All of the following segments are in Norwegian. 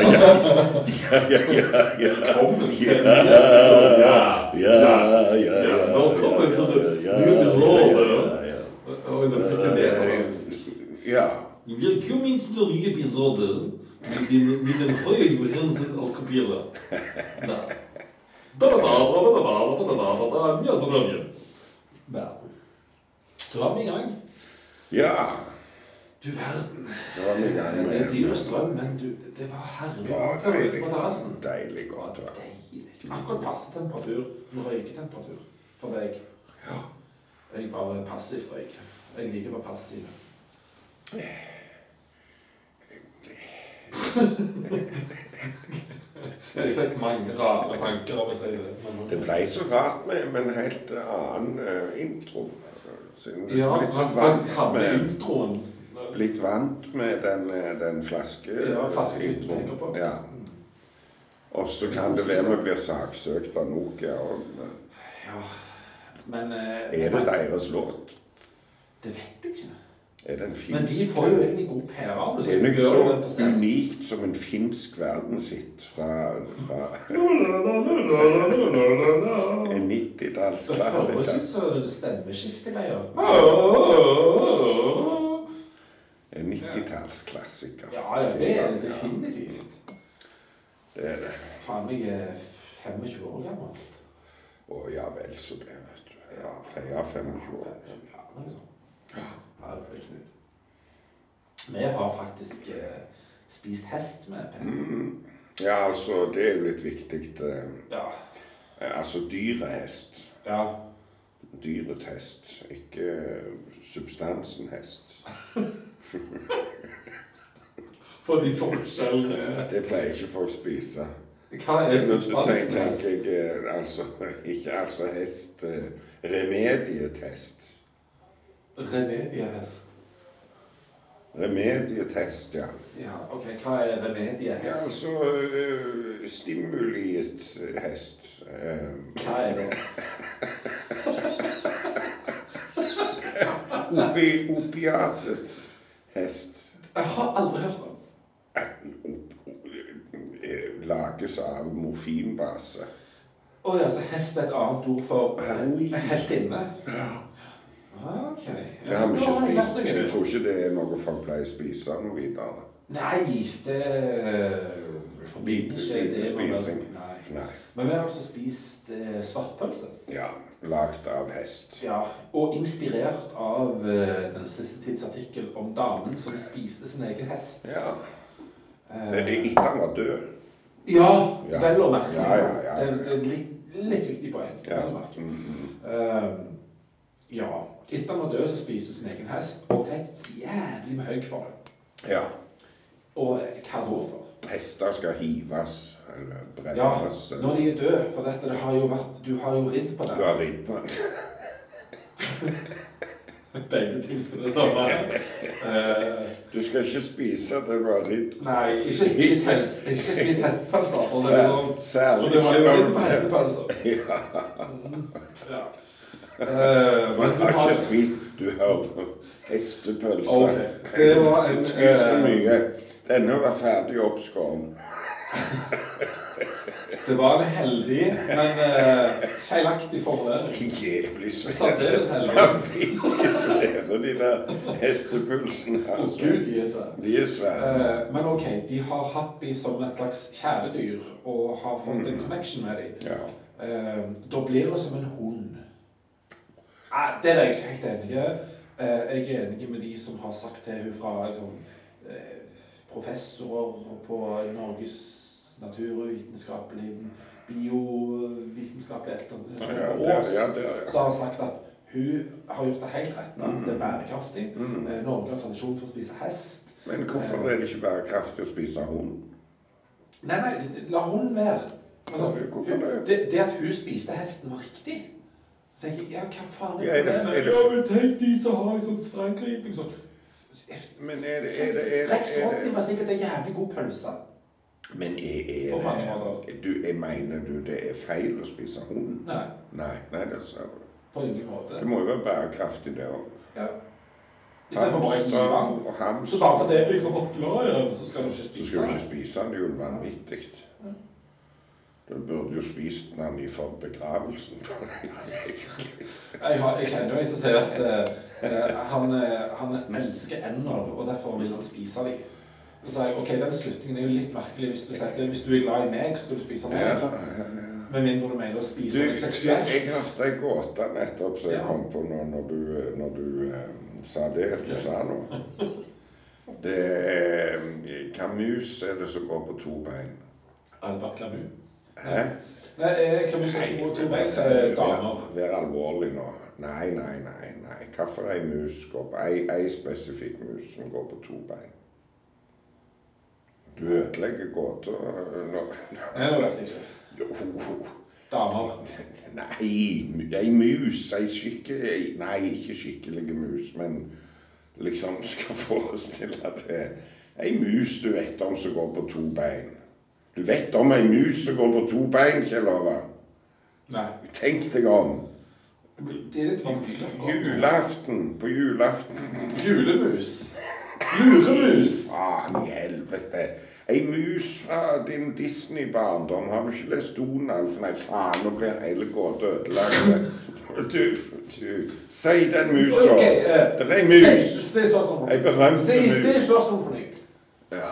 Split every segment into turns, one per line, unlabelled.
ja, ja, ja. Ja, ja, ja, ja.
Ja, welkom
ja,
tot de
ja,
nieuwe
ja,
zolder.
ja, ja.
Oh, dat is een Nederlands.
Ja,
Welkom in de nieuwe episode. Met een- Met een goede begrenzen al kapielen. Nou. Ja, zo dan weer. Nou. Zo haben wir gegangen.
ja.
Du werden.
Da var vi i gang med
Det er dyre strøm, men du, det var herlig.
Ja,
Det var
deilig.
på terrassen.
Deilig å
Det
ta.
var deilig. Akkurat passe temperatur. En røyketemperatur for deg.
Ja.
Jeg bare passivt røyker. Jeg liker bare passiv. Jeg fikk mange rare tanker av å si det. men-
Det blei så rart med, med en helt annen eh, intro. Siden du
Ja,
er blitt så
han
vant
faktisk hadde
med,
introen.
blitt vant med den, eh, den flaske,
Ja, flasketypen
introen.
tenker på.
Ja. Og så kan det være vi blir saksøkt av Nokia. Og, eh,
Ja, men eh,
er det deres låt?
Det vet jeg ikke.
Er det en
Men de
finsk
får jo egentlig god PR av det.
Det er
de
noe
gjør jo
så
interessant.
unikt som en finsk verdenshit fra, fra
Det
en
høres
90-tallsklassiker.
ut som stemmeskiftegreier.
En 90-tallsklassiker.
Ja, ja, det er det definitivt.
Det er det.
Faen, jeg er 25 år gammel.
Å ja vel, så det, vet du. Ja, feira 25 år.
Ja, noe sånt. sånn. Ja, det er ikke nytt. Vi har faktisk eh, spist hest med Per.
Ja, altså, det er jo litt viktig. eh,
Ja.
Altså dyrehest.
ja.
Dyret hest, ikke eh, substansen hest.
For de forskjellene.
Det pleier ikke folk å spise.
Hva er
Men så tenk-
substansen
tenker
hest?
jeg eh, altså ikke altså hest eh, Remedietest.
Remediehest.
Remedietest, ja.
Ja, ok, hva er
Ja,
remediehest?
altså eh, stimuliet hest. eh,
Hva er det?
Opi, opiatet hest
Jeg har aldri hørt om.
eh, op- eh, lages av morfinbase.
Å ja, så hest er et annet ord for
Oi.
helt inne?
Ja.
Ah, Ok. Ja,
Det har vi
da
ikke
jeg lært
spist.
noe
Jeg
nytt.
tror ikke det er noe folk pleier å spise noe videre.
Nei, det for min
Lite-
skje,
lite
det er noe-
spising.
Nei.
Nei.
Men vi har altså spist eh, svartpølse.
Ja, lagd av hest.
Ja, og inspirert av eh, den siste tids artikkel om damen som spiste sin egen hest.
Ja. Eh,
Eh,
Etter han var død.
ja,
Ja.
vel å merke.
Ja, ja, ja, ja.
Det, det er litt, litt viktig poeng.
Ja.
vel å merke.
Mhm.
Ehm, ja. Etter han var død, så spiste hun sin egen hest og fikk jævlig med høyk for det.
ja.
Og hva da for?
Hester skal hives eller
Ja,
brennes. eller-
når de er døde, for dette, det har jo vært, du har jo ridd på
Du
det.
har ridd på den.
Begge tingene samme. Eh,
Du skal ikke spise det du har ridd på.
nei, ikke spis hest- ikke spis hestepølser. for det er
Sær-
sånn-
Særlig
For du har jo ridd på
når-
hestepølser.
Ja.
Mm, ja. Eh,
Du
men du
har ikke spist Du hører på hestepølse.
Ok, det var en,
Spis så
eh,
mye. Denne var ferdig oppskåren.
Det var en heldig, men eh, feilaktig formulering.
Jævlig svære.
Særdeles heldig.
Vanvittig svære, de der hestepølsene.
Å,
Altså.
Gud, Jesus.
De er svære.
Eh, Men ok, de har hatt de som et slags kjæledyr og har fått
Mm.
en connection med dem. Eh,
Ja.
Da blir det som en hund. Nei, der er jeg ikke helt enig. Eh, Jeg er enig med de som har sagt til hun fra liksom, eh, professorer på Norges naturvitenskapelig biovitenskapelig et
Ja,
eller
der,
annet
ja,
sånt,
der, ja.
så har han sagt at hun har gjort det helt rett. da. Det er bærekraftig.
Mm.
Eh, Norge har tradisjon for å spise hest.
Men hvorfor er det ikke bærekraftig å spise hund?
Nei, nei, det- det- la hunden være. Altså,
Hvorfor det?
det, det at hun spiste hesten var riktig. Så tenker jeg, ja, hva faen
Ja, er det-
problemet?
er det-
Ja, men tenk de som har en sånn spranggriping sånn.
Men er det, er det, er det,
Rex
er
Rodney
det
var sikkert en jævlig god pølse.
Men er,
På mange
er det du, jeg Mener du det er feil å spise hund?
Nei,
Nei, nei, det ser du.
på ingen måte.
Det må jo være bærekraftig, det òg.
Ja. Istedenfor bare å gi den.
og
Så
hamster
bare fordi jeg ikke var glad i den, så skal du ikke
Så
spise
skal du
den.
ikke spise den, det er jo vanvittig. Du burde jo spist den han i for begravelsen.
Jeg, har, jeg kjenner jo en som sier at eh, han, eh, han elsker ender, og derfor vil han spise dem. Så sa jeg ok, den slutningen er jo litt merkelig hvis du sier at hvis du er glad i meg, skal du spise
Ja.
meg. Med mindre du mener å
Du,
spise meg seksuelt.
jeg hørte en gåte nettopp som jeg
Ja.
kom på nå når du, når du eh, sa det du
Ja.
sa nå. Det er Hva mus er det som går på to bein?
Albert Camus.
Hæ?
Nei, jeg kan jo si
Nei,
to
vær-
veis eh, damer.
vær- Vær alvorlig nå. Nei, nei, nei. nei. Hvorfor ei mus går på ei, ei spesifikk mus som går på to bein? Du ødelegger gåta øh, nå.
Nei, nå vet jeg ikke.
Jo, ho, ho.
Damer.
Nei, mu- ei mus, ei skikkelig Nei, ikke skikkelig mus, men liksom skal forestille deg ei mus du vet om som går på to bein. Du vet om ei mus som går på to bein, Kjell Ove.
Nei.
Tenk deg om.
Det er litt vanskelig. akkurat nå.
Julaften, på julaften.
Julemus. Luremus.
Faen i helvete. Ei mus fra din Disney-barndom. Har du ikke lest Donald? For nei, faen, nå blir hele gåta ødelagt. Du, du. Si den musa.
Ok, eh,
det er ei
Hei,
mus.
Still spørsmål.
Ei berømte
Still still
mus.
spørsmål på nytt.
Ja.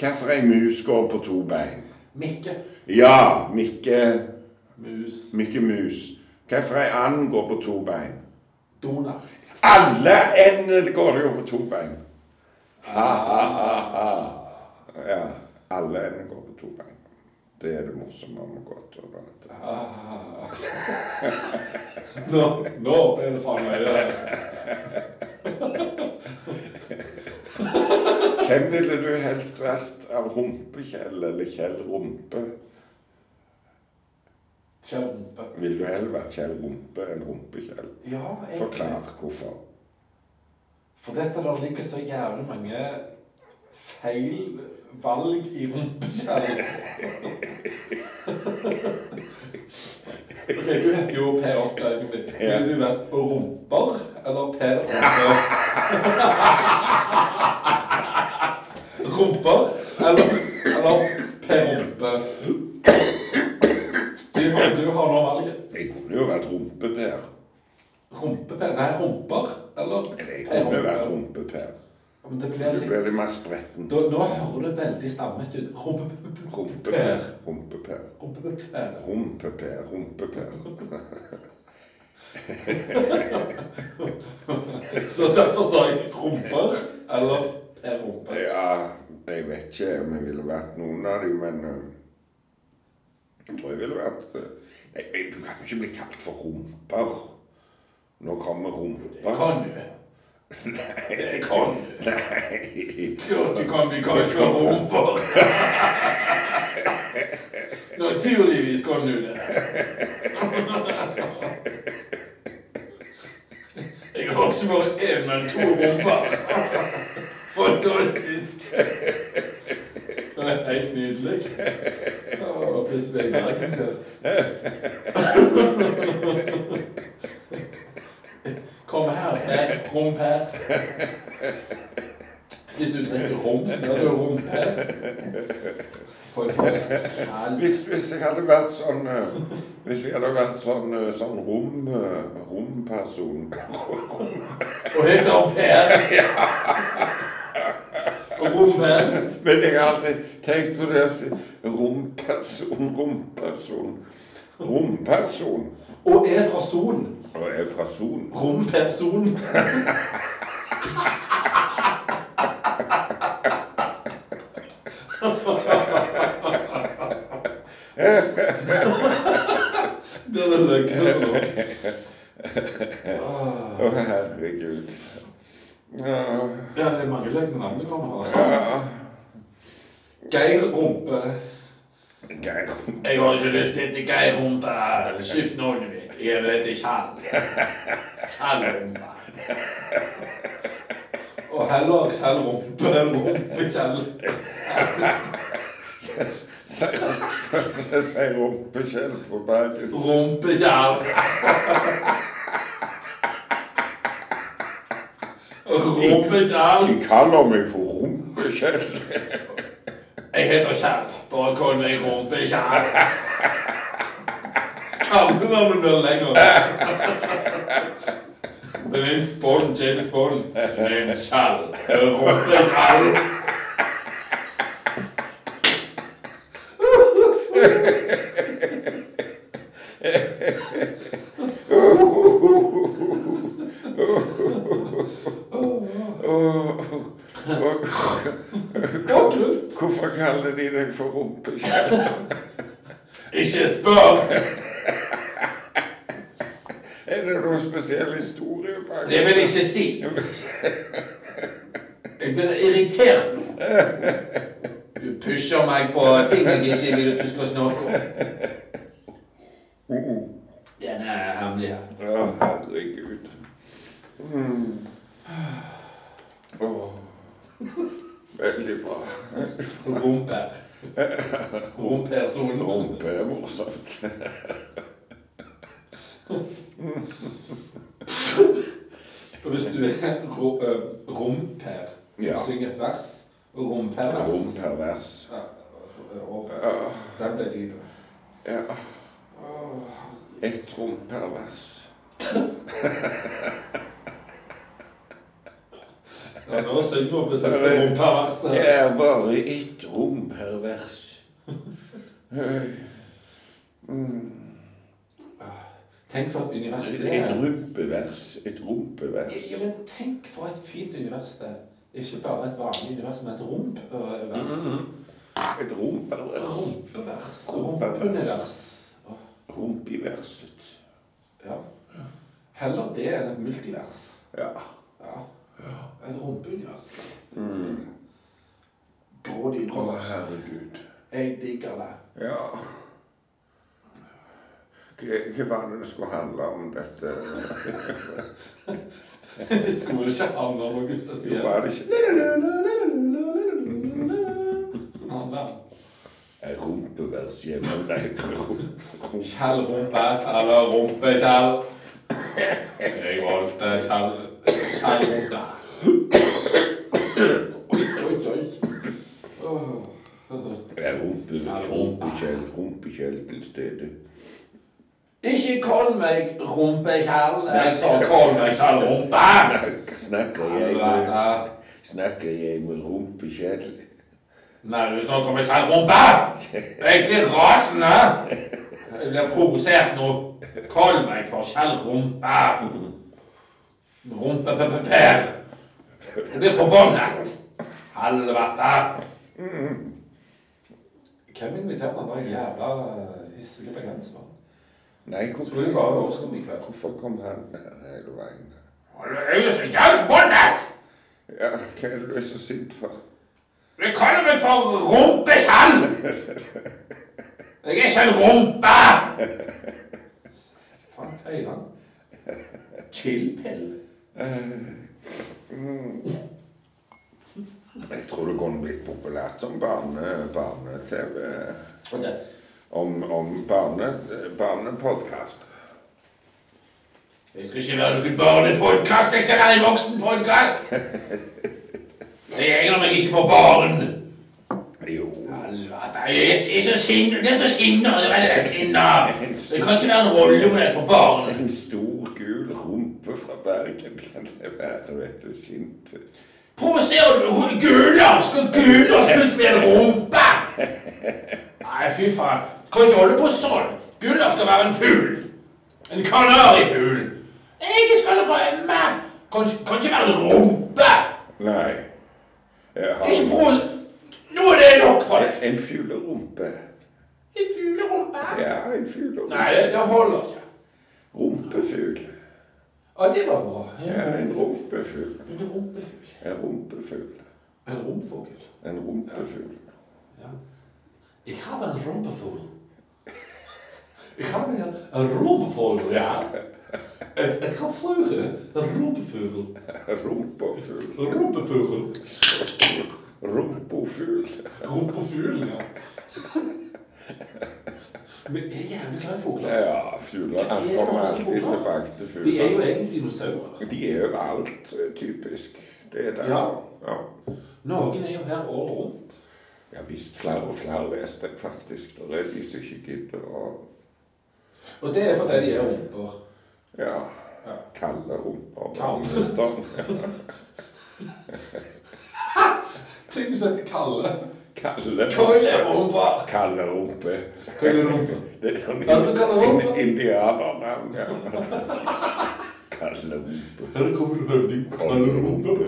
Hvorfor ei mus går på to bein?
Mikke.
Ja, Mikke,
Mus.
Mikke Mus. Hvorfor ei and går på to bein?
Donald.
Alle endene går jo på to bein. Ha-ha-ha. Ja, alle endene går på to bein. Det er det morsomme med gåter. da, at-
Ah. Nå, nå ble det faen meg eh, det.
Hvem ville du helst vært av Rumpekjell eller Kjell Rumpe?
Kjell rumpe.
Ville du heller vært Kjell Rumpe enn Rumpekjell?
Ja, jeg-
Forklar hvorfor.
For dette der ligger så jævlig mange feil valg i rumpekjellen. ok, du heter jo Per Oskar egentlig.
Ja.
Ville du vært rumper eller Per Oskar? rumper eller, eller Per Rumpe? Du, du har nå valget.
Jeg kunne jo vært Rumpe-Per.
Rumpe-Per? Nei, rumper eller
Eller jeg
Per
kunne vært
Rumpe?
Rumpe-Per.
Ja, Men det
Du
blir
ble litt
litt
mer spretten.
Da, nå hører det veldig stammet ut. Rumpe-
Rumpe-Per. Rumpe-Per.
Rumpe-Per.
Rumpe-Per. Rumpe-Per.
Så derfor sa jeg rumper eller per rumpe.
Ja, jeg vet ikke om jeg ville vært noen av dem, men eh, jeg tror jeg ville vært eh, Nei, men du kan jo ikke bli kalt for rumper. Nå kommer rumper.
Kan du?
Nei.
Det kan du.
Nei.
Jo, du kan bli kalt for rumper. Naturligvis kan du det. Jeg har ikke bare én, men to rumper. Fantastisk. Det er helt nydelig. Å, Plutselig ble jeg verdenskjør. Kom her, her, rom her. Hvis du drikker rom, så blir du rom her. Fantastisk. Herlig.
Hvis, hvis jeg hadde vært sånn eh, Hvis jeg hadde vært sånn, eh, sånn rom, eh, romperson
Og heter han Per. Og rom her.
Men jeg har aldri tenkt på det å si romperson, romperson. Romperson.
Og er fra Son.
Og er fra Son.
Romperson. Blir det løgne nå? Ah.
Å, herregud. Ja.
Ja, det er mange løgne navn du kommer fra.
ja.
Geir Rumpe.
Geir.
Jeg har ikke lyst til å hete Geir Humpe. Skift navnet mitt. Jeg vil hete Kjell. Kjell Humpe. Og heller Kjell Rumpe enn Rumpe-Kjell.
Sier jeg sier rumpekjell på bergensk.
Rumpe-Kjell. Rumpe-Kjell.
De kaller meg for rumpekjell.
Jeg heter Kjell. Bare kall meg Rumpe-Kjell. Kallenavnet blir lenger. The name's Bond, James Bond. The name's Kjell. Rumpe-Kjell.
Øh, Og- og-
Bakgrunn.
øh, Hvorfor kaller de deg for rumpekjell?
Ikke spør!
Er det noen spesiell historie bak
Det vil jeg ikke si. Jeg blir irritert nå. Du pusher meg på ting jeg ikke vil at du skal snakke om. Den er hemmelig her.
Ja, herregud. Mm. Åh. Veldig bra.
Rumper. Rumpersonen.
Rumpe er morsomt.
Og hvis du er ro- ø, rumper,
Ja.
syng et vers. Rumpervers.
Rumpervers.
Ja, og- og-
Ja.
Den ble dyp.
ja.
Åh.
Et rumpervers.
Ja, nå synger vi bestemt rumperverset.
Det er bare ett rom per vers. Eh, Mm.
Tenk for et univers det
Et
er.
rumpevers. Et rumpevers.
Ja, men tenk for et fint univers det er. Ikke bare et vanlig univers, men et rumpevers.
Mm-hmm. Et rumpervers.
Rumpevers.
Rumpevers.
Rumpunivers. Åh,
Rumpiverset.
Ja. Heller det enn et multivers.
Ja.
Ja. Et rumpeunivers.
Mm.
Grå
Å,
dypros.
herregud.
Jeg digger det.
Ja. Hva hva var det det skulle handle om, dette?
Det skulle ikke handle om noe
Jo,
spesielt.
var det ikke
Han der.
Et rumpevers hjemme? Nei, rum- rum-
Kjell Rumpe eller Rumpe-Kjell. Jeg valgte Kjell Kjell Rumpe. Oi, oi, oi. Oh. Åh.
Er rumpe, rumpekjell, rumpekjell til stede.
Ikke kall meg Rumpe-Kjell. Jeg sa kall meg Kjell Rumpe.
Snakker jeg med, snakker jeg med rumpekjell?
Nei, du snakker med Kjell Rumpe. Jeg blir rasende. Jeg blir provosert nå. Kall meg for Kjell Rumpe. Rumpe-pe-pe-per. Jeg blir forbannet! Helvete! Hvem inviterte han der jævla hissige bergenseren?
Nei, hvorfor,
Skulle jo bare være Oslo i kveld.
hvorfor kom han her hele veien?
Jeg er så jævlig forbannet!
Ja, hva er det du er så sint for?
Du kaller meg for rumpeskjell! Jeg er ikke en rumpe! Faen, feil han. Chillpill.
Jeg tror det kunne blitt populært som barne, barne-TV.
Ok.
Om, om barne, barnepodkast.
Jeg skal ikke være noen barnepodkast, jeg skal være en voksenpodkast! Jeg egner meg ikke for barn!
Jo.
Helvete, jeg er- jeg er så sinna, det er så sinna, det er veldig sinna. Det kan ikke være en rollemodell for barn.
En stor, gul rumpe fra Bergen kan det være, vet du. Sint.
Provoserer du ho- Gulas? Skal Gulas kunne spille rumpe? Nei, fy faen. Kan ikke holde på sånn. Gulas skal være en fugl. En kanarifugl. Jeg skal rømme. Kan ikke- kan ikke være en rumpe.
Nei. Jeg har
Ikke provos... Nå er det nok for deg.
en fuglerumpe.
En fuglerumpe?
Ja, en fugl. og-
Nei, det, det holder ikke.
Rumpefugl.
Ja, det var bra.
Ja, en rumpefugl.
En rumpefugl.
En rumpefugl.
En romfugl.
En rumpefugl.
Ja. Ich habe einen Rumpeful. Ik heb een, een rompevogel, ja. Het, het kan vliegen. Een rompevogel.
Rumpofugl.
Een rompevogel.
Rumpofugl.
Rompevogel, ja. Men, ja, men kleine vogler.
Ja, fugler han kommer alltid tilbake til
Die er jo
fugler.
egentlig dinosaurer.
De er overalt, eh, typisk. Det er derfor. Ja.
Norge er jo her året rundt.
Jeg har visst flere og flere leste jeg faktisk. Det er de som ikke gidder å
Og det er fordi de er rumper.
ja,
Ja.
kalle rumper.
Kalle.
Kalle.
Tenk hvis jeg kaller
Kalle
Kalle rumper!
Kalle rumpe.
Kalle rumpe.
Det er sånn
Ja, du kaller rumpe.
ind- indianernavn. Ja. Kalle rumpe.
Her kommer høvding
Kalle rumpe.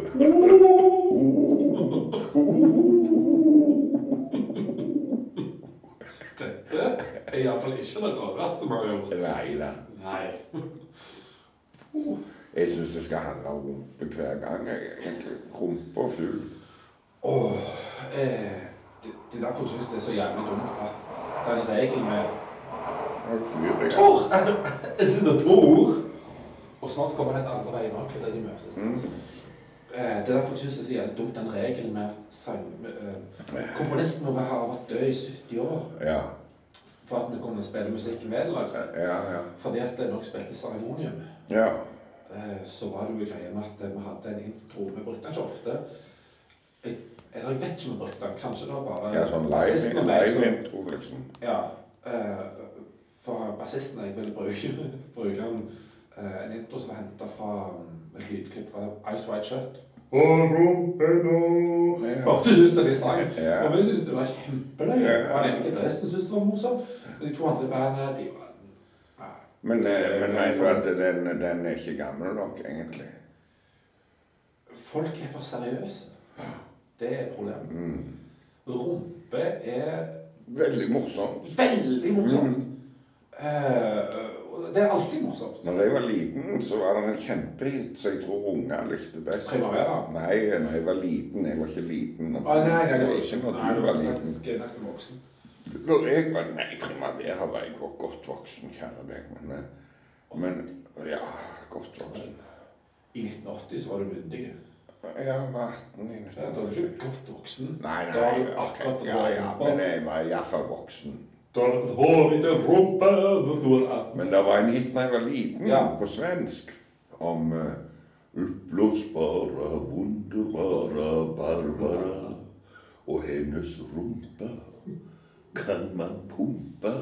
Dette er iallfall ikke det rareste vi har gjort.
Nei da.
Nei.
Jeg syns det skal handle om rumpe hver gang. jeg, egentlig. Rumpe og fugl.
Åh, eh, det, det er derfor jeg synes det er så jævlig dumt at det er en regel med
Og flyr jeg.
Tor! Jeg sitter Tor! Og snart kommer det et andre veien òg, fordi de møtes.
Mm.
Eh, det er derfor jeg synes det er så jævlig dumt den regelen med at sang, med, eh, komponisten må ha vært død i 70 år
Ja.
for at vi kunne spille musikken med. Altså.
Ja, ja.
Fordi at det nok spilte seremonium.
ja.
Eh, så var det jo greia med at vi hadde en intro. Vi brukte den ikke ofte. Jeg, eller jeg vet ikke om vi brukte den. Kanskje det var bare
ja sånn live,
Sist vi ble, så-
live intro, liksom.
Ja. eh, for bassisten jeg ville bruke, bruke en, eh, en intro som var henta fra um, et lydklipp fra Ice White Shut.
Ja.
Hørte ut som de sang.
Ja.
Og vi syntes det var kjempeløye.
Ja.
Og den ene gitaristen syntes det var morsomt. Men de to andre bandene, de var ja.
Men, eh, men mener du at den, den er ikke gammel nok, egentlig?
Folk er for seriøse. Det er problemet.
Mm.
Rumpe er
Veldig morsomt.
veldig morsomt.
Mm.
Eh, og det er alltid morsomt.
Når jeg var liten, så var det en kjempehit som jeg tror unger likte best.
Primavera?
Nei, når jeg var liten. Jeg var ikke liten.
Å, nei, nei,
Det
nei,
var ikke når
nei,
du
var
var liten.
faktisk nesten voksen.
Når jeg var Nei, primavera var jeg var godt voksen, kjære deg. Men, eh, men ja, godt voksen.
I 1980 så var du myndig.
Jeg var 18 i
Da er du
1987.
ikke godt voksen.
Nei,
Da
nei,
er du
ok.
akkurat for
Ja, ja, men
dårlig.
jeg var iallfall voksen.
Da har du fått hår i den rumpa når du er 18.
Men det var en hit da jeg var liten,
Ja.
på svensk, om uh, Uppblåsbara, wunderbara Barbara og hennes rumpa kan man pumpa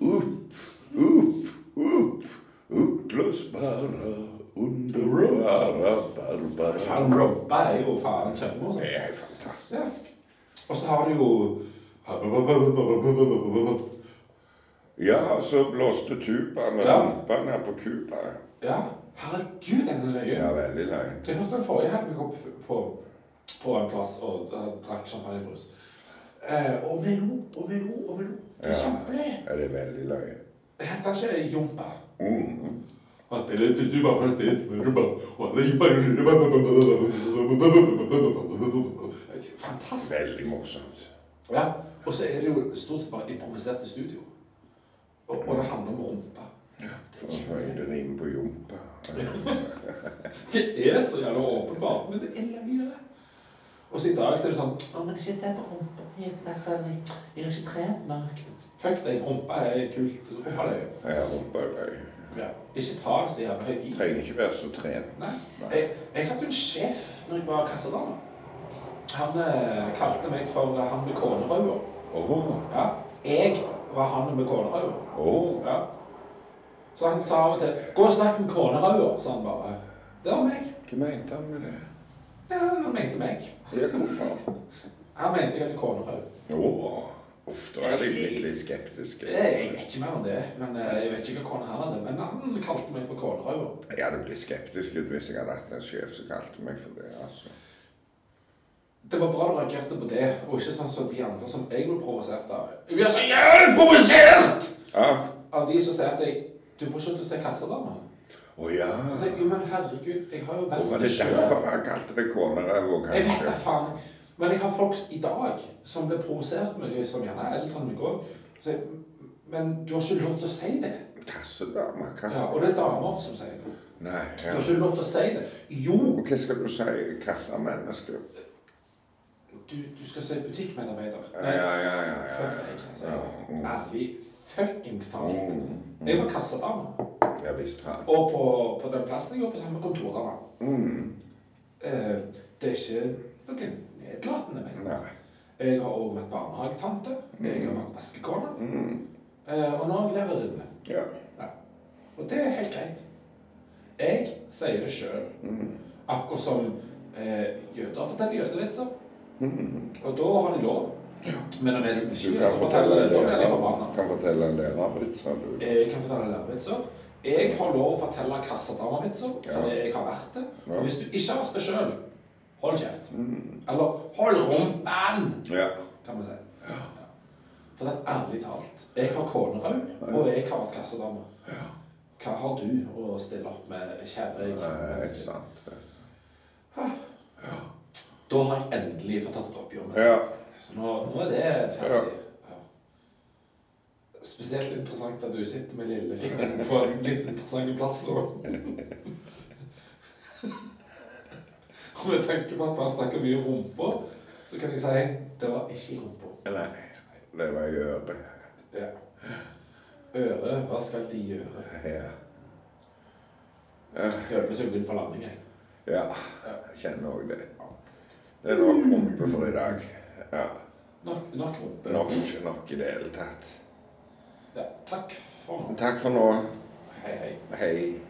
opp, opp, opp. Uppblåsbara, underbara Barbara.
Faen, rumpa er jo faen
Det
kjempemorsomt.
er fantastisk.
Og så har du jo
Ja, så blåste tuba med
Ja.
rumpa ned på Cuba.
Ja, herregud, den er løye.
Ja, veldig løgn.
Jeg hørte den forrige helg vi kom på, på, på en plass og uh, drakk champagnebrus. Eh, og vi lo og vi lo og vi lo. Det er
Ja.
kjempeløy.
Ja, det er veldig løgn.
Heter han ikke Jompa?
Mm.
Han spiller du- du bare han spiller rumba, og han er jumpa, rumba, rumba, rumba, rumba, rumba, rumba. Eh, Fantastisk.
Veldig morsomt.
Ja, og så er det jo stort sett bare improvisert i studio. Og, og det handler om rumpa.
For å føye den inn på jumpa.
Det er så jævla åpenbart, men det er løye. Og så i dag så er det sånn Å, men shit, det er på rumpa mi. for dette er litt- Jeg har ikke trent nok. Fuck deg, rumpa er kult. Rumpa er jo
Jeg har rumpa i løy.
ja. Ikke ta det så jævla høytidelig.
Trenger ikke være så trent.
Nei. Jeg, jeg hadde jo en sjef når jeg var kassadame. Han eh, kalte meg for han med kånerøya.
Åh,
Ja. Jeg var han med kånerøya.
åh.
Ja. Så han sa av og til 'Gå og snakk med kånerøya', sa han bare. Det var meg.
Hva mente han med det?
Ja, han mente meg.
Ja, hvorfor?
Han mente jeg hadde kånerøy.
Åh, ofte er de blitt litt skeptiske.
Jeg vet ikke mer om det, men eh, jeg vet ikke hva kone han hadde. Men han kalte meg for kålrøver.
Jeg hadde blitt skeptisk ut hvis jeg hadde hatt en sjef som kalte meg for det, altså.
Det var bra du reagerte på det, og ikke sånn som de andre som jeg ble provosert av. Jeg blir så jævlig provosert!
Av?
Av de som sier til deg Du får ikke til å se kassadama.
Å ja.
Jeg sier, jo, men herregud, jeg har jo
Og
vært
var det
sjøl.
derfor han kalte det konerøv og
Jeg vet da
kanskje?
faen. Men jeg har folk i dag som blir provosert med meg, som gjerne er eldre enn meg òg. Men du har ikke lov til å si det.
Kassedame,
Ja,
kasse...
og det er damer som sier det.
Nei,
Du
ja.
har ikke lov til å si det. Jo,
Og Hva skal du si? Kassemenneske?
du, du skal si butikkmedarbeider.
Ja,
Nei,
ja, ja. ja, ja.
fuck deg. sier
ja.
jeg.
mm,
Ærlig fuckings talt.
mm,
Jeg var kassadame.
Ja visst faen.
Og på, på den plassen jeg jobber, så har vi kontordame.
Mm.
Eh, Det er ikke noe nedlatende. men
Nei.
Jeg har også vært barnehagetante. Jeg har vært vaskekone.
Mm.
eh, Og nå er jeg lærerinne.
Ja.
Og det er helt greit. Jeg sier det sjøl.
Mm.
Akkurat som eh, jøder forteller jødevitser.
Mm.
Og da har de lov. Men når vi som
Du
ikke er
kan
jøder
fortelle
forteller,
en
da blir de
lærer-
forbanna.
kan fortelle en lærervitser, du.
Jeg kan fortelle lærervitser. Jeg har lov å fortelle kassadamavitser fordi jeg har vært det.
Ja.
Og hvis du ikke har vært det sjøl, hold kjeft.
Mm.
Eller hold rumpen!
Ja.
kan man si. For det er ærlig talt. Jeg har konerau, og jeg har vært kassedame. Hva har du å stille opp med, kjære
Nei, Eh, ikke
kjære?
sant.
Da har jeg endelig fått tatt et oppgjør med det.
Ja.
Så nå, nå er det ferdig. Ja. Spesielt interessant at du sitter med lillefingeren på en litt interessant plass nå. Og med tanke på at man snakker mye rumpa, så kan jeg si det var ikke i rumpa.
Nei, det var i øret.
Ja. Øre, hva skal de gjøre?
Ja. Ja.
Jeg føler meg sugen for landing, jeg.
Ja, jeg kjenner òg det. Det er nok rumpe for i dag. Ja.
Nok, nok rumpe.
Nok, nok i det hele tatt.
Ja, takk for nå.
Takk for nå.
Hei, hei.
Hei.